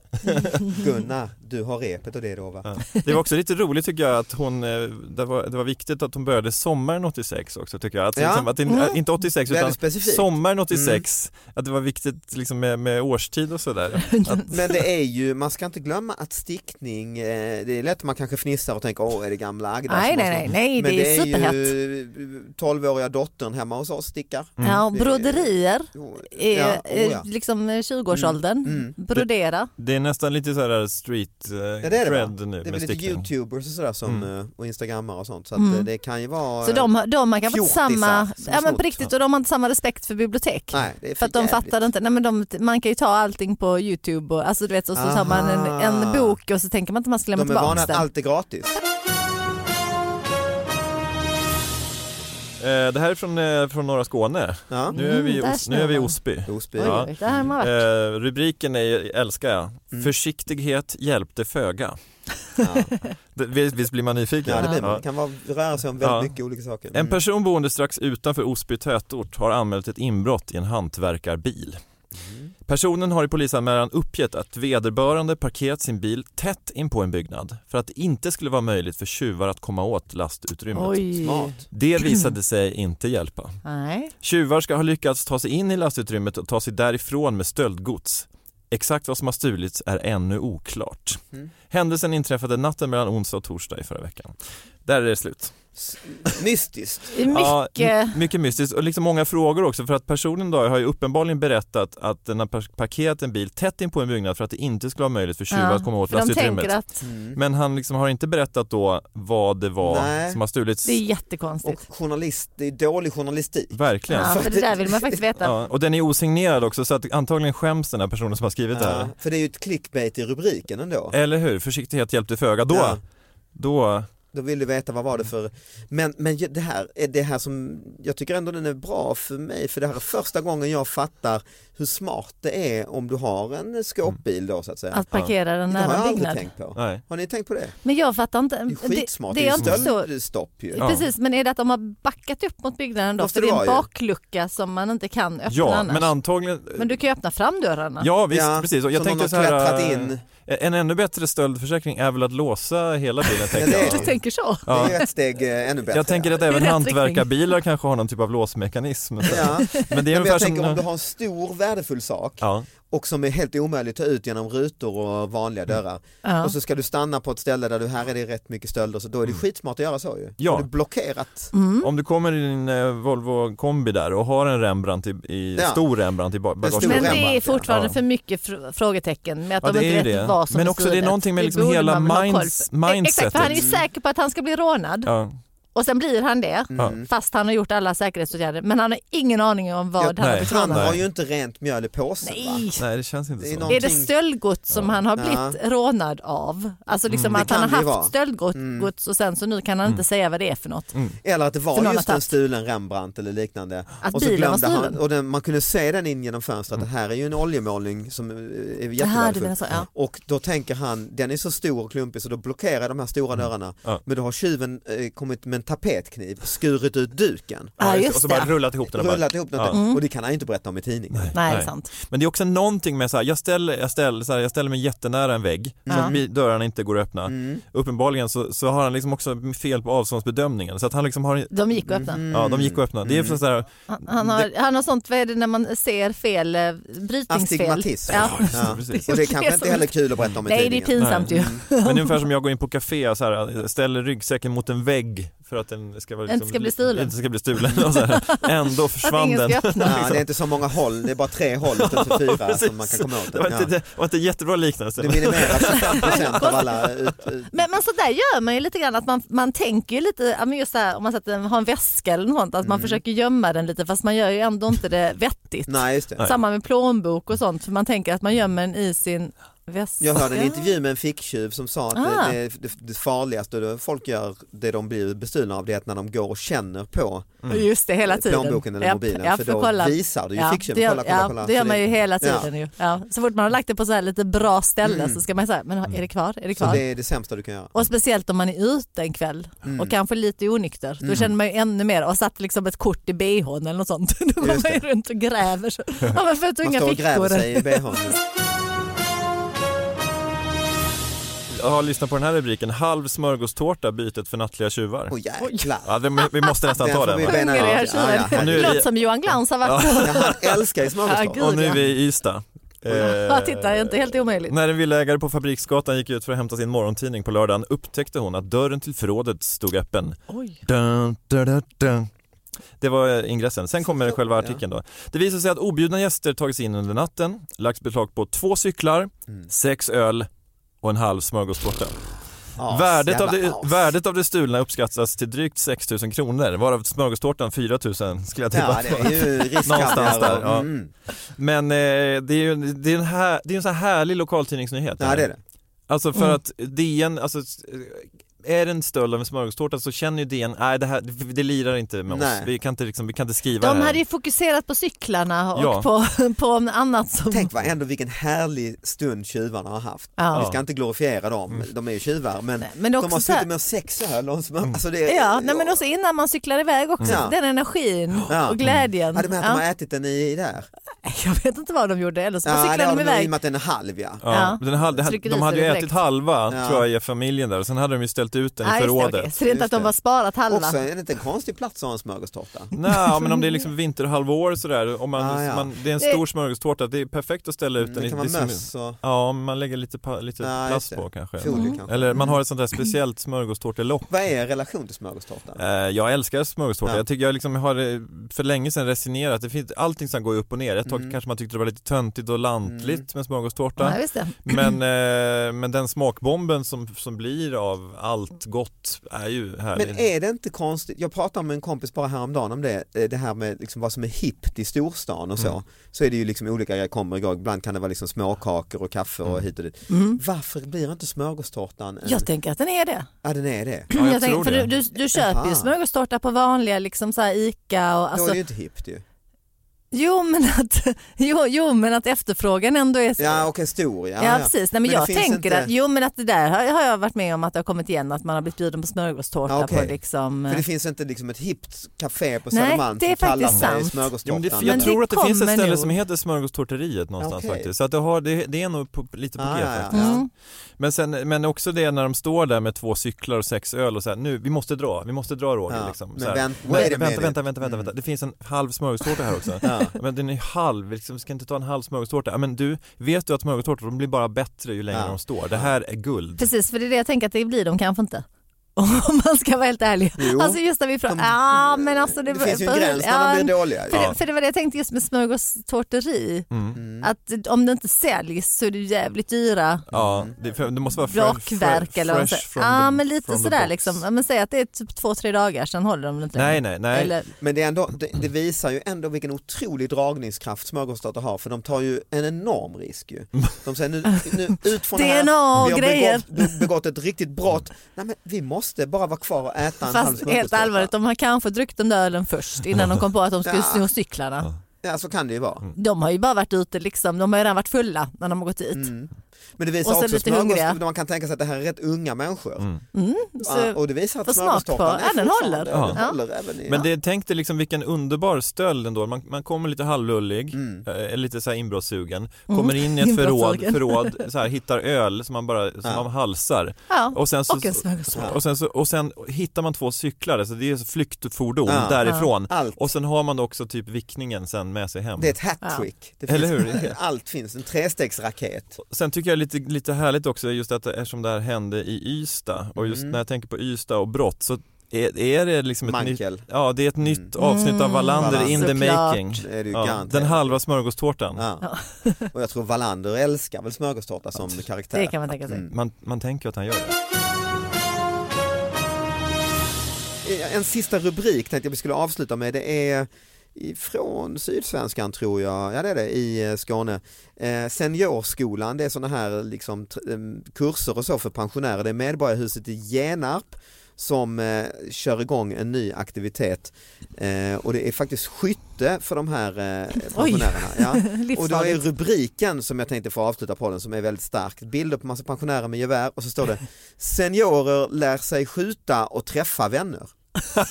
Speaker 1: Gunnar, du har repet och det då va?
Speaker 3: Ja. Det var också lite roligt tycker jag att hon, eh, det var, det var viktigt att hon började sommaren 86 också tycker jag. Att,
Speaker 1: Ja.
Speaker 3: liksom, att det,
Speaker 2: Mm.
Speaker 3: Inte 86
Speaker 1: Väldigt
Speaker 3: utan
Speaker 1: specifikt. Mm.
Speaker 3: sommaren 86, att det var viktigt liksom, med, med årstid och sådär. Att-
Speaker 1: Men det är ju, man ska inte glömma att stickning, eh, det är lätt att man kanske fnissar och tänker åh är det gamla Agda
Speaker 2: Nej,
Speaker 1: som har
Speaker 2: nej, nej,
Speaker 1: stick?"
Speaker 2: nej,
Speaker 1: Men
Speaker 2: det är
Speaker 1: det är
Speaker 2: superhett.
Speaker 1: ju 12-åriga dottern hemma hos oss stickar.
Speaker 2: Ja,
Speaker 1: Det är
Speaker 2: Broderier är
Speaker 1: Mm. Ja, oh ja. Mm,
Speaker 2: eh, liksom eh, 20-årsåldern. Brodera.
Speaker 3: Det är nästan lite så här street eh,
Speaker 1: Ja, det är det, va?
Speaker 3: cred nu
Speaker 1: det är
Speaker 3: med Mm.
Speaker 1: väl lite
Speaker 3: stickning.
Speaker 1: youtubers och sådär som, eh, och instagrammare och sånt så att
Speaker 2: Mm.
Speaker 1: eh, det kan ju vara...
Speaker 2: Så de, har- de har kanske inte
Speaker 1: fjortisar
Speaker 2: samma,
Speaker 1: som
Speaker 2: ja men
Speaker 1: snott.
Speaker 2: på riktigt, och de har inte samma respekt för bibliotek.
Speaker 1: Nej, det är
Speaker 2: För att de
Speaker 1: jävligt.
Speaker 2: fattar inte, nej men de, man kan ju ta allting på Youtube och, alltså, du vet, och så tar man en, en
Speaker 1: Aha.
Speaker 2: bok och så tänker man inte man ska lämna
Speaker 1: Ah. De är vana
Speaker 2: tillbaka
Speaker 1: att
Speaker 2: den.
Speaker 1: allt är gratis.
Speaker 3: Eh, det här är från, eh, från norra Skåne.
Speaker 1: Ja.
Speaker 3: Nu är vi, i
Speaker 2: Mm, där
Speaker 3: Os- nu är vi i
Speaker 2: snöar.
Speaker 3: Osby.
Speaker 1: Osby.
Speaker 2: Oj,
Speaker 3: Ja.
Speaker 2: oj, det här har man varit.
Speaker 3: Eh, rubriken är, ju- älskar jag, Försiktighet hjälpte föga.
Speaker 1: Ja.
Speaker 3: Det, visst, visst blir man nyfiken?
Speaker 1: Ja, det blir man.
Speaker 3: Ja.
Speaker 1: Det kan vara, röra sig om väldigt
Speaker 3: Ja.
Speaker 1: mycket olika saker. Mm.
Speaker 3: En person boende strax utanför Osby tätort har anmält ett inbrott i en hantverkarbil.
Speaker 1: Mm.
Speaker 3: Personen har i polisanmälan uppgett att vederbörande parkerat sin bil tätt in på en byggnad för att det inte skulle vara möjligt för tjuvar att komma åt lastutrymmet.
Speaker 2: Oj.
Speaker 1: Smart.
Speaker 3: Det visade sig inte hjälpa.
Speaker 2: Nej.
Speaker 3: Tjuvar ska ha lyckats ta sig in i lastutrymmet och ta sig därifrån med stöldgods. Exakt vad som har stulits är ännu oklart.
Speaker 1: Mm.
Speaker 3: Händelsen inträffade natten mellan onsdag och torsdag i förra veckan. Där är det slut.
Speaker 1: S- Mystiskt.
Speaker 2: Det är Mycket.
Speaker 3: Ja, my- mycket mystiskt och liksom många frågor också för att personen då har ju uppenbarligen berättat att den har par- parkerat en bil tätt in på en byggnad för att det inte skulle vara möjligt för tjuvar
Speaker 2: Ja,
Speaker 3: att komma åt
Speaker 2: för de
Speaker 3: lastutrymmet.
Speaker 2: tänker att
Speaker 1: Mm.
Speaker 3: Men han liksom har inte berättat då vad det var
Speaker 1: Nej.
Speaker 3: som har stulits.
Speaker 2: det är jättekonstigt.
Speaker 1: Och journalist, det är dålig journalistik.
Speaker 3: Verkligen.
Speaker 2: Ja, för det där vill man faktiskt veta.
Speaker 3: Ja, och den är osignerad också så att antagligen skäms den här personen som har skrivit det här.
Speaker 1: Ja, för det är ju ett clickbait i rubriken ändå.
Speaker 3: Eller hur? Försiktighet hjälpte föga. Då,
Speaker 1: Ja.
Speaker 3: då
Speaker 1: Då vill du veta vad var det för, men, men ju- det här är det här som, jag tycker ändå den är bra för mig för det här är första gången jag fattar hur smart det är om du har en skåpbil då så att säga.
Speaker 2: Att parkera den
Speaker 1: det har jag
Speaker 2: nära en
Speaker 1: aldrig
Speaker 2: byggnad.
Speaker 1: tänkt på.
Speaker 3: nej.
Speaker 1: Har ni tänkt på det?
Speaker 2: Men jag fattar inte.
Speaker 1: Det är skitsmart,
Speaker 2: Det, det är inte så.
Speaker 1: stöldstopp ju.
Speaker 3: Ja.
Speaker 2: Precis, men är det att de har backat upp mot byggnaden då?
Speaker 1: Måste
Speaker 2: För det
Speaker 1: det
Speaker 2: är en
Speaker 1: vara ju.
Speaker 2: baklucka som man inte kan öppna
Speaker 3: Ja,
Speaker 2: annars.
Speaker 3: men
Speaker 2: Men,
Speaker 3: antagligen
Speaker 2: du kan ju öppna framdörrarna.
Speaker 3: Ja visst,
Speaker 1: Ja,
Speaker 3: precis. Och jag
Speaker 1: som någon
Speaker 3: tänker
Speaker 1: har
Speaker 3: så här,
Speaker 1: klättrat
Speaker 3: eh,
Speaker 1: in.
Speaker 3: En ännu bättre stöldförsäkring är väl att låsa hela bilen tänker
Speaker 1: det
Speaker 3: jag.
Speaker 1: är- typ
Speaker 2: Du tänker så?
Speaker 1: Det är
Speaker 3: Ja.
Speaker 1: ju ett steg eh, ännu bättre.
Speaker 3: Jag tänker att även
Speaker 2: rätt
Speaker 3: hantverkarbilar kanske har någon typ av låsmekanism.
Speaker 1: Ja.
Speaker 3: Men
Speaker 1: Men
Speaker 3: det är ungefär
Speaker 1: jag tänker om du
Speaker 3: som...
Speaker 1: har en stor värdefull sak
Speaker 3: Ja,
Speaker 1: och som är helt omöjlig att ta ut genom rutor och vanliga
Speaker 3: Mm.
Speaker 1: dörrar
Speaker 2: Ja.
Speaker 1: och så ska du stanna på ett ställe där du här är det rätt mycket stölder så då är det skitsmart att göra så ju.
Speaker 3: Mm. Ja.
Speaker 1: Har du blockerat
Speaker 2: Mm.
Speaker 3: om du kommer i din eh, Volvo kombi där och har en Rembrandt i, i
Speaker 1: Ja.
Speaker 3: stor Rembrandt i ba-
Speaker 1: stor
Speaker 2: Men
Speaker 3: bagagerummet.
Speaker 2: det är
Speaker 1: Rembrandt,
Speaker 2: fortfarande
Speaker 3: ja.
Speaker 2: för mycket fr- frågetecken med att
Speaker 3: Ja,
Speaker 2: de
Speaker 3: det är
Speaker 2: inte
Speaker 3: ju
Speaker 2: vet
Speaker 3: det.
Speaker 2: vad som
Speaker 3: Men
Speaker 2: är
Speaker 3: också det är
Speaker 2: stulet.
Speaker 3: någonting med liksom
Speaker 2: borde
Speaker 3: hela
Speaker 2: man väl ha koll på.
Speaker 3: minds-
Speaker 2: E- Exakt,
Speaker 3: mindsetet.
Speaker 2: för han är ju säker på att han ska bli rånad
Speaker 3: Ja.
Speaker 2: och sen blir han det
Speaker 3: Mm.
Speaker 2: fast han har gjort alla säkerhetsåtgärder men han har ingen aning om vad
Speaker 1: Ja,
Speaker 2: han har
Speaker 3: nej.
Speaker 2: blivit
Speaker 1: Han
Speaker 3: Nej.
Speaker 1: har ju inte rent mjöl i påsen va?
Speaker 2: Nej,
Speaker 3: Nej, det känns inte
Speaker 1: Det är
Speaker 3: så.
Speaker 1: någon-
Speaker 2: Är det stöldgods som han har
Speaker 1: Ja.
Speaker 2: blivit rånad av? Alltså liksom
Speaker 1: Det
Speaker 3: Mm.
Speaker 2: att han
Speaker 1: kan
Speaker 2: har
Speaker 1: det ju
Speaker 2: haft
Speaker 1: vara.
Speaker 2: stöldgods och sen så nu kan han inte säga vad det är för något.
Speaker 3: Mm.
Speaker 1: Eller att det
Speaker 2: För någon
Speaker 1: var
Speaker 2: har
Speaker 1: just en
Speaker 2: tagit.
Speaker 1: stulen Rembrandt eller liknande.
Speaker 2: Att
Speaker 1: och så
Speaker 2: bilen var
Speaker 1: glömde han,
Speaker 2: stulen.
Speaker 1: och den, man kunde se den in genom fönstret, det här är ju en oljemålning som eh, är
Speaker 2: Det här du menar
Speaker 1: jättevärdefull.
Speaker 2: så, ja.
Speaker 1: Och då tänker han, den är så stor och klumpig så då blockerar de här stora
Speaker 2: Mm.
Speaker 1: dörrarna.
Speaker 3: Ja.
Speaker 1: Men då har tjuven eh, kommit med en tapetkniv, skurit ut duken,
Speaker 2: Ja,
Speaker 3: och
Speaker 2: just
Speaker 3: så bara
Speaker 2: det.
Speaker 3: rullat ihop den och bara-
Speaker 1: rullat ihop den Mm.
Speaker 3: Ja.
Speaker 1: och det kan han ju inte berätta om i tidningen.
Speaker 2: Mm. Nej, det är
Speaker 3: Nej.
Speaker 2: sant.
Speaker 3: Men det är också någonting med så här, jag ställer, jag ställer, så här, jag ställer mig jättenära en vägg så att mi- dörrarna inte går att öppna.
Speaker 1: Mm.
Speaker 3: Uppenbarligen så, så har han liksom också fel på avståndsbedömningen så att han liksom har,
Speaker 2: De gick och öppnade.
Speaker 1: Mm.
Speaker 3: ja de gick och öppnade. Det är så här,
Speaker 2: Han, han, har, han har sånt, vad är det när man ser fel, eh, brytningsfel?
Speaker 1: Astigmatism.
Speaker 2: Ja.
Speaker 3: just det, precis.
Speaker 1: Och det är
Speaker 2: Det
Speaker 1: kanske
Speaker 2: är
Speaker 1: inte
Speaker 2: så-
Speaker 1: heller kul att berätta om i
Speaker 2: Nej, det är
Speaker 1: tidningen.
Speaker 2: pinsamt ju.
Speaker 3: Men det är ungefär som jag går in på café så här, ställer ryggsäcken mot en vägg för att den ska, vara liksom
Speaker 2: Inte ska bli stulen.
Speaker 3: Inte ska bli stulen och så här, ändå
Speaker 2: Att
Speaker 3: försvann
Speaker 2: ingen
Speaker 3: den.
Speaker 2: ska öppna.
Speaker 1: Ja, det är inte så många håll, det är bara tre håll istället för fyra
Speaker 3: Precis.
Speaker 1: som man kan komma åt.
Speaker 3: Det var inte,
Speaker 1: Ja.
Speaker 3: det var inte en jättebra liknelse.
Speaker 1: Det minimerar 25 procent av alla ut, ut,
Speaker 2: Men, men så där gör man ju lite grann, att man, man tänker ju lite, ja, men just det här, om man sätter, en- har en väska eller något, att man försöker gömma den lite fast man gör ju ändå inte det vettigt.
Speaker 1: Nej just det.
Speaker 2: Samma med plånbok och sånt, för man tänker att man gömmer den i sin väska.
Speaker 1: Jag hörde en intervju med en ficktjuv som sa att
Speaker 2: Ah.
Speaker 1: det, det, det farligaste då folk gör, det de blir bestulna av, det är att när de går och känner på
Speaker 2: Just det, hela tiden.
Speaker 1: plånboken eller
Speaker 2: Japp,
Speaker 1: mobilen.
Speaker 2: japp,
Speaker 1: för då
Speaker 2: kolla.
Speaker 1: visar du ju
Speaker 2: det
Speaker 1: ficktjuven,
Speaker 2: gör,
Speaker 1: kolla, kolla,
Speaker 2: ja,
Speaker 1: kolla.
Speaker 2: Det gör
Speaker 1: Så
Speaker 2: man ju hela
Speaker 1: Ja. Mm.
Speaker 2: tiden. Ju. Ja. Så fort man har lagt det på så här lite bra ställe så ska man säga, men är det kvar? Är det
Speaker 1: Så
Speaker 2: kvar?
Speaker 1: det är det sämsta du kan göra.
Speaker 2: Mm. Och speciellt om man är ute en kväll
Speaker 1: Mm.
Speaker 2: och kanske lite onykter. Då känner man ju ännu mer och satt liksom ett kort i bhn eller något sånt. Då går
Speaker 1: Just
Speaker 2: man ju runt och gräver. Så. Ja, men för
Speaker 1: Man
Speaker 2: tunga
Speaker 1: står och gräver
Speaker 2: fickor.
Speaker 1: sig i bhn.
Speaker 3: Jag har lyssnat på den här rubriken, halv smörgåstårta bytet för nattliga tjuvar.
Speaker 1: Åh jäklar.
Speaker 3: Ja, det, vi måste nästan
Speaker 1: Den
Speaker 3: ta
Speaker 1: får vi
Speaker 3: den.
Speaker 1: bena
Speaker 2: Hunger i
Speaker 1: ut. Ja, ja,
Speaker 2: halsen.
Speaker 3: Och nu
Speaker 1: herregud.
Speaker 2: Det
Speaker 3: är vi-
Speaker 2: låter som Johan Glans har varit på.
Speaker 1: Ja, Han älskar ju smörgåstårta.
Speaker 2: Ja,
Speaker 3: Och nu är vi i Ystad. Eh,
Speaker 2: Ja, titta, inte helt omöjligt.
Speaker 3: När en villaägare på Fabriksgatan gick ut för att hämta sin morgontidning på lördagen upptäckte hon att dörren till förrådet stod öppen.
Speaker 2: Oj.
Speaker 3: Dun, dun, dun, dun. Det var eh, ingressen. Sen kommer själva artikeln då. Det visar sig att objudna gäster tagits in under natten, lagts beslag på två cyklar,
Speaker 1: Mm.
Speaker 3: sex öl och en halv smörgåstårta.
Speaker 1: As,
Speaker 3: Värdet av,
Speaker 1: jävla
Speaker 3: det,
Speaker 1: as.
Speaker 3: värdet av det stulna uppskattas till drygt 6 000 kronor, varav smörgåstårtan 4 000 skulle jag tippa.
Speaker 1: Ja, det är
Speaker 2: typ.
Speaker 1: ju
Speaker 3: Någonstans
Speaker 1: riskhandel.
Speaker 3: där, ja.
Speaker 1: Mm.
Speaker 3: Men eh, det är ju det är en, här, det är en sån här härlig lokaltidningsnyhet.
Speaker 1: Ja, det är det.
Speaker 3: Alltså
Speaker 2: Mm.
Speaker 3: för att DN, alltså, eh, är det en stöld av en smörgåstårta så känner ju DN, nej det här, det lirar inte med
Speaker 1: Nej.
Speaker 3: oss, vi kan inte, liksom, vi kan inte
Speaker 2: De
Speaker 3: skriva det här.
Speaker 2: hade ju fokuserat på cyklarna och
Speaker 3: Ja.
Speaker 2: på, på annat som...
Speaker 1: Tänk vad ändå vilken härlig stund tjuvarna har haft.
Speaker 2: Ja. Mm.
Speaker 1: Vi ska inte glorifiera dem, de är ju tjuvar, men,
Speaker 2: Nej, men också
Speaker 1: de har
Speaker 2: så här- Mm.
Speaker 1: suttit med sex öl och en smör... Alltså det,
Speaker 2: Ja, nej, men också innan man cyklar iväg också,
Speaker 1: Ja.
Speaker 2: den energin
Speaker 1: Ja. Mm.
Speaker 2: och glädjen.
Speaker 1: Ja, du menar att de har ätit den i, i där?
Speaker 2: Jag vet inte vad de gjorde, eller så bara
Speaker 1: Ja, det
Speaker 2: cyklade
Speaker 1: har
Speaker 2: de
Speaker 1: de nog i
Speaker 2: iväg.
Speaker 1: och med att den är halv ja.
Speaker 3: Ja,
Speaker 2: Ja.
Speaker 3: Den hal- det här,
Speaker 2: Trycker
Speaker 3: de
Speaker 2: i
Speaker 3: hade
Speaker 2: sig
Speaker 3: ju
Speaker 2: det
Speaker 3: ätit
Speaker 2: direkt.
Speaker 3: halva
Speaker 1: Ja.
Speaker 3: tror jag i familjen där och sen hade de ju ställt ut den
Speaker 2: Ja,
Speaker 3: i
Speaker 2: just det,
Speaker 3: förrådet.
Speaker 2: okej. Så det är inte att de
Speaker 1: Just
Speaker 2: bara sparat halva.
Speaker 1: Också är det inte en konstig plats att ha en smörgåstårta?
Speaker 3: Nej, men om det är liksom vinterhalvår sådär, om man,
Speaker 1: Ah, ja. Mm,
Speaker 3: man, det är en
Speaker 2: Det-
Speaker 3: stor smörgåstårta, det är perfekt att ställa ut den
Speaker 1: Det
Speaker 3: i-
Speaker 1: kan vara
Speaker 3: det är som-
Speaker 1: möss och
Speaker 3: Ja, man lägger lite, pa- lite
Speaker 1: Ja, just
Speaker 3: plast
Speaker 1: det.
Speaker 3: på kanske.
Speaker 1: folie
Speaker 2: Mm.
Speaker 1: kanske. Mm.
Speaker 3: Eller man har ett sånt där speciellt smörgåstårtelock.
Speaker 1: Vad är er relation till smörgåstårtan?
Speaker 3: Eh, Jag älskar smörgåstårta.
Speaker 1: Ja.
Speaker 3: Jag tycker jag liksom har eh, för länge sedan resignerat. Det finns allting som går upp och ner. Ett tag kanske man tyckte det var lite töntigt och lantligt med smörgåstårta.
Speaker 2: Mm. Ja, visst det.
Speaker 3: Men, eh, men den smakbomben som, som blir av allt gott är ju härlig.
Speaker 2: eh,
Speaker 1: Men är det inte konstigt, jag pratade med en kompis bara häromdagen om det, eh, det här med liksom vad som är hippt i storstan och så. Så är det ju liksom olika grejer kommer igång, ibland kan det vara liksom småkakor och kaffe och hit och dit. Varför blir inte smörgåstårtan en...
Speaker 2: Mm. Jag tänker att den är det.
Speaker 1: Ja den är det.
Speaker 3: Eh, Ja, jag
Speaker 2: tänker-
Speaker 3: tror
Speaker 2: för
Speaker 3: det.
Speaker 2: du, du, du köper ju
Speaker 1: Aha.
Speaker 2: smörgåstårta på vanliga liksom så här Ica och
Speaker 1: Då är
Speaker 2: alltså,
Speaker 1: det ju inte hippt ju.
Speaker 2: jo, men att, jo, jo men att efterfrågan ändå är så.
Speaker 1: Ja okej stor ja.
Speaker 2: Ja, precis, Nej, men,
Speaker 1: det
Speaker 2: jag
Speaker 1: finns
Speaker 2: tänker
Speaker 1: inte-
Speaker 2: att, jo men att det där har, har jag varit med om att det har kommit igen att man har blivit bjuden på smörgåstårta
Speaker 1: Ja, okej.
Speaker 2: på liksom.
Speaker 1: För det finns inte liksom ett hippt café på
Speaker 2: Nej,
Speaker 1: Södermalm
Speaker 2: det
Speaker 1: som
Speaker 2: är
Speaker 1: kallar sig
Speaker 2: faktiskt sant.
Speaker 3: Jo, men
Speaker 1: smörgåstårtan.
Speaker 3: det, jag
Speaker 2: Men det
Speaker 3: tror att det finns ett
Speaker 2: kommer
Speaker 3: ställe
Speaker 2: nog.
Speaker 3: som heter smörgåstårteriet någonstans
Speaker 1: Okej.
Speaker 3: faktiskt. Så att det, har, det, det är nog på, lite på
Speaker 1: Ah,
Speaker 3: G
Speaker 1: ja,
Speaker 3: faktiskt.
Speaker 1: ja.
Speaker 2: Mm.
Speaker 3: Men, sen, men också det när de står där med två cyklar och sex öl och så här, nu, vi måste dra, vi måste dra Roger
Speaker 1: Ja,
Speaker 3: liksom.
Speaker 1: men
Speaker 3: så här,
Speaker 1: vänt-
Speaker 3: "Nej,
Speaker 1: wait a
Speaker 3: vänta,
Speaker 1: minute."
Speaker 3: vänta, vänta, vänta, vänta,
Speaker 1: Mm.
Speaker 3: det finns en halv smörgåstårta här också. Men den är halv, liksom, ska inte ta en halv smörgåstårta. Ja, Men du, vet du att smörgåstårtor, de blir bara bättre ju längre
Speaker 1: Ja.
Speaker 3: de står. Det här är guld.
Speaker 2: Precis, för det är det jag tänker att det blir de kanske inte. Om man ska vara helt ärlig.
Speaker 1: Jo.
Speaker 2: alltså just när vi pratar, ja men alltså det,
Speaker 1: Det finns ju
Speaker 2: för-
Speaker 1: en gräns när
Speaker 2: ja,
Speaker 1: de blir dåliga.
Speaker 2: För,
Speaker 1: Ja. Mm.
Speaker 2: det, för det var det jag tänkte just med smörgåstårteri.
Speaker 3: Mm.
Speaker 2: Att om det inte säljs så är det ju jävligt dyra
Speaker 3: Ja, det, för, det måste vara fre-
Speaker 2: rakverk
Speaker 3: fre-
Speaker 2: eller vad man
Speaker 3: fresh
Speaker 2: säger.
Speaker 3: from
Speaker 2: Ja
Speaker 3: the-
Speaker 2: men lite
Speaker 3: from the
Speaker 2: sådär
Speaker 3: box.
Speaker 2: liksom. Ja, Men säg att det är typ två, tre dagar sen håller de inte
Speaker 3: Nej,
Speaker 2: längre.
Speaker 3: nej, nej.
Speaker 2: Eller,
Speaker 1: Men det, är ändå, det, det visar ju ändå vilken otrolig dragningskraft smörgåstårtor har för de tar ju en enorm risk ju. De säger nu, nu ut från här,
Speaker 2: DNA och
Speaker 1: vi har
Speaker 2: grejer.
Speaker 1: begått, begått ett riktigt brott. Nej men vi måste bara vara kvar och äta en halv
Speaker 2: fast helt
Speaker 1: smörgåstårta.
Speaker 2: allvarligt, de har kanske druckit den där ölen först innan de kom på att de skulle
Speaker 1: Ja.
Speaker 2: sno cyklarna.
Speaker 1: Ja så kan det ju vara.
Speaker 3: Mm.
Speaker 2: De har ju bara varit ute liksom, de har ju redan varit fulla när de har gått dit.
Speaker 1: Mm. Men det
Speaker 2: Och
Speaker 1: visar
Speaker 2: sen
Speaker 1: också
Speaker 2: lite
Speaker 1: smörgåstårtor,
Speaker 2: hungriga.
Speaker 1: man kan tänka sig att det här är rätt unga människor.
Speaker 3: Mm.
Speaker 1: Ja,
Speaker 2: Så-
Speaker 1: och det visar
Speaker 2: få
Speaker 1: att
Speaker 2: smak
Speaker 1: smörgåstårtan
Speaker 2: på. Ja, den
Speaker 1: fortfarande-
Speaker 2: håller.
Speaker 1: Den
Speaker 2: Ja.
Speaker 1: håller även i,
Speaker 3: Men det, tänk dig liksom vilken underbar stöld ändå. Man, man kommer lite halvlullig, eh, lite så här inbrottssugen, kommer in i ett förråd,
Speaker 2: Mm. Inbrottssugen.
Speaker 3: förråd så här, hittar öl som man bara som man halsar.
Speaker 2: Ja,
Speaker 3: Och sen, så,
Speaker 2: och en smörgåstårta.
Speaker 3: och, sen så, och sen hittar man två cyklar, så det är så flyktfordon
Speaker 1: Ja.
Speaker 3: därifrån.
Speaker 1: Ja. Allt.
Speaker 3: Och sen har man också typ vickningen sen med sig hem.
Speaker 1: det är ett hattrick. Det
Speaker 3: Eller
Speaker 1: finns-
Speaker 3: hur?
Speaker 1: Allt finns, en trestegsraket.
Speaker 3: Sen tycker jag lite, lite härligt också just att det- eftersom det här hände i Ystad och just
Speaker 1: Mm.
Speaker 3: när jag tänker på Ystad och brott så är, är det liksom ett nytt,
Speaker 1: Mankel.
Speaker 3: ja, det är ett nytt avsnitt av Wallander
Speaker 1: Wallander.
Speaker 3: in the
Speaker 2: Såklart.
Speaker 3: making.
Speaker 1: Det är det ju
Speaker 3: Ja,
Speaker 1: garanterat.
Speaker 3: den halva smörgåstårtan.
Speaker 1: Ja. Och jag tror Wallander älskar väl smörgåstårta som karaktär.
Speaker 2: Det kan man tänka sig.
Speaker 1: Mm.
Speaker 3: Man, man tänker att han gör det.
Speaker 1: Eh, En sista rubrik tänkte jag vi skulle avsluta med. Det är från Sydsvenskan tror jag, ja det är det, i eh, Skåne. Eh, seniorskolan, det är sådana här liksom, tr- em, kurser och så för pensionärer. Det är Medborgarhuset i Genarp som eh, kör igång en ny aktivitet eh, och det är faktiskt skytte för de här eh, pensionärerna. Ja. Och då är
Speaker 2: Livsfarligt.
Speaker 1: rubriken som jag tänkte få avsluta på den som är väldigt stark. Bilder på massa pensionärer med gevär och så står det Seniorer lär sig skjuta och träffa vänner. eh,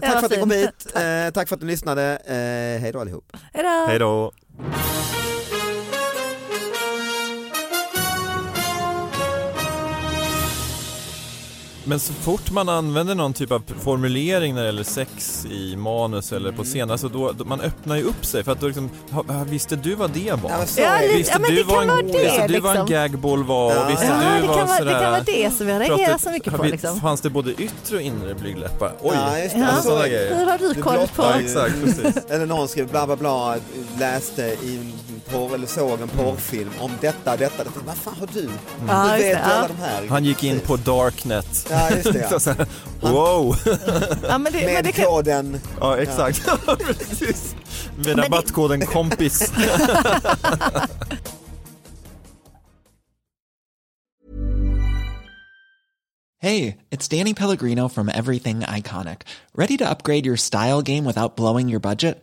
Speaker 1: tack
Speaker 2: var
Speaker 1: för att ni kom
Speaker 2: fint.
Speaker 1: hit, eh, tack för att ni lyssnade, eh, hej då allihop.
Speaker 2: Hejdå!
Speaker 3: Hej då. Men så fort man använder någon typ av formulering när det gäller sex i manus eller på scen, alltså då, då man öppnar ju upp sig för att då liksom, ha- ha, visste du vad det var?
Speaker 1: Ja, men så
Speaker 2: Ja,
Speaker 1: är det.
Speaker 2: lite-
Speaker 3: Visste
Speaker 2: men
Speaker 3: du
Speaker 2: det
Speaker 3: vad
Speaker 2: kan
Speaker 3: en,
Speaker 2: vara det,
Speaker 3: visste du vad en
Speaker 2: liksom.
Speaker 3: gagboll var?
Speaker 1: Ja.
Speaker 3: Och visste
Speaker 1: Ja,
Speaker 3: du
Speaker 2: det,
Speaker 3: vad
Speaker 2: kan vara, det
Speaker 3: sådär,
Speaker 2: kan vara det som jag reagerar
Speaker 3: pratet-
Speaker 2: så mycket
Speaker 3: har
Speaker 2: på.
Speaker 3: vi-
Speaker 2: Liksom.
Speaker 3: Fanns det både yttre och inre blygdläppar? Oj!
Speaker 1: Ja, just det.
Speaker 2: Ja.
Speaker 1: Alltså,
Speaker 3: Sådana grejer.
Speaker 2: Hur har du
Speaker 1: Du
Speaker 2: koll på?
Speaker 1: blottar ju.
Speaker 3: Exakt, precis.
Speaker 1: Eller någon skrev bla bla bla, läste i en porr, eller såg en porrfilm om detta, detta, detta. Vad fan har du?
Speaker 2: Ja,
Speaker 1: Du
Speaker 2: just
Speaker 1: vet
Speaker 2: det,
Speaker 1: ju alla
Speaker 2: ja.
Speaker 1: de här.
Speaker 3: Han gick in på darknet.
Speaker 1: Ja, just det, ja.
Speaker 3: Så såhär, wow!
Speaker 2: Ja, men det, men det
Speaker 1: Med
Speaker 2: kan,
Speaker 1: koden.
Speaker 3: Ja, exakt. Precis. Med rabattkoden kompis.
Speaker 4: Hey, it's Danny Pellegrino from Everything Iconic. Ready to upgrade your style game without blowing your budget?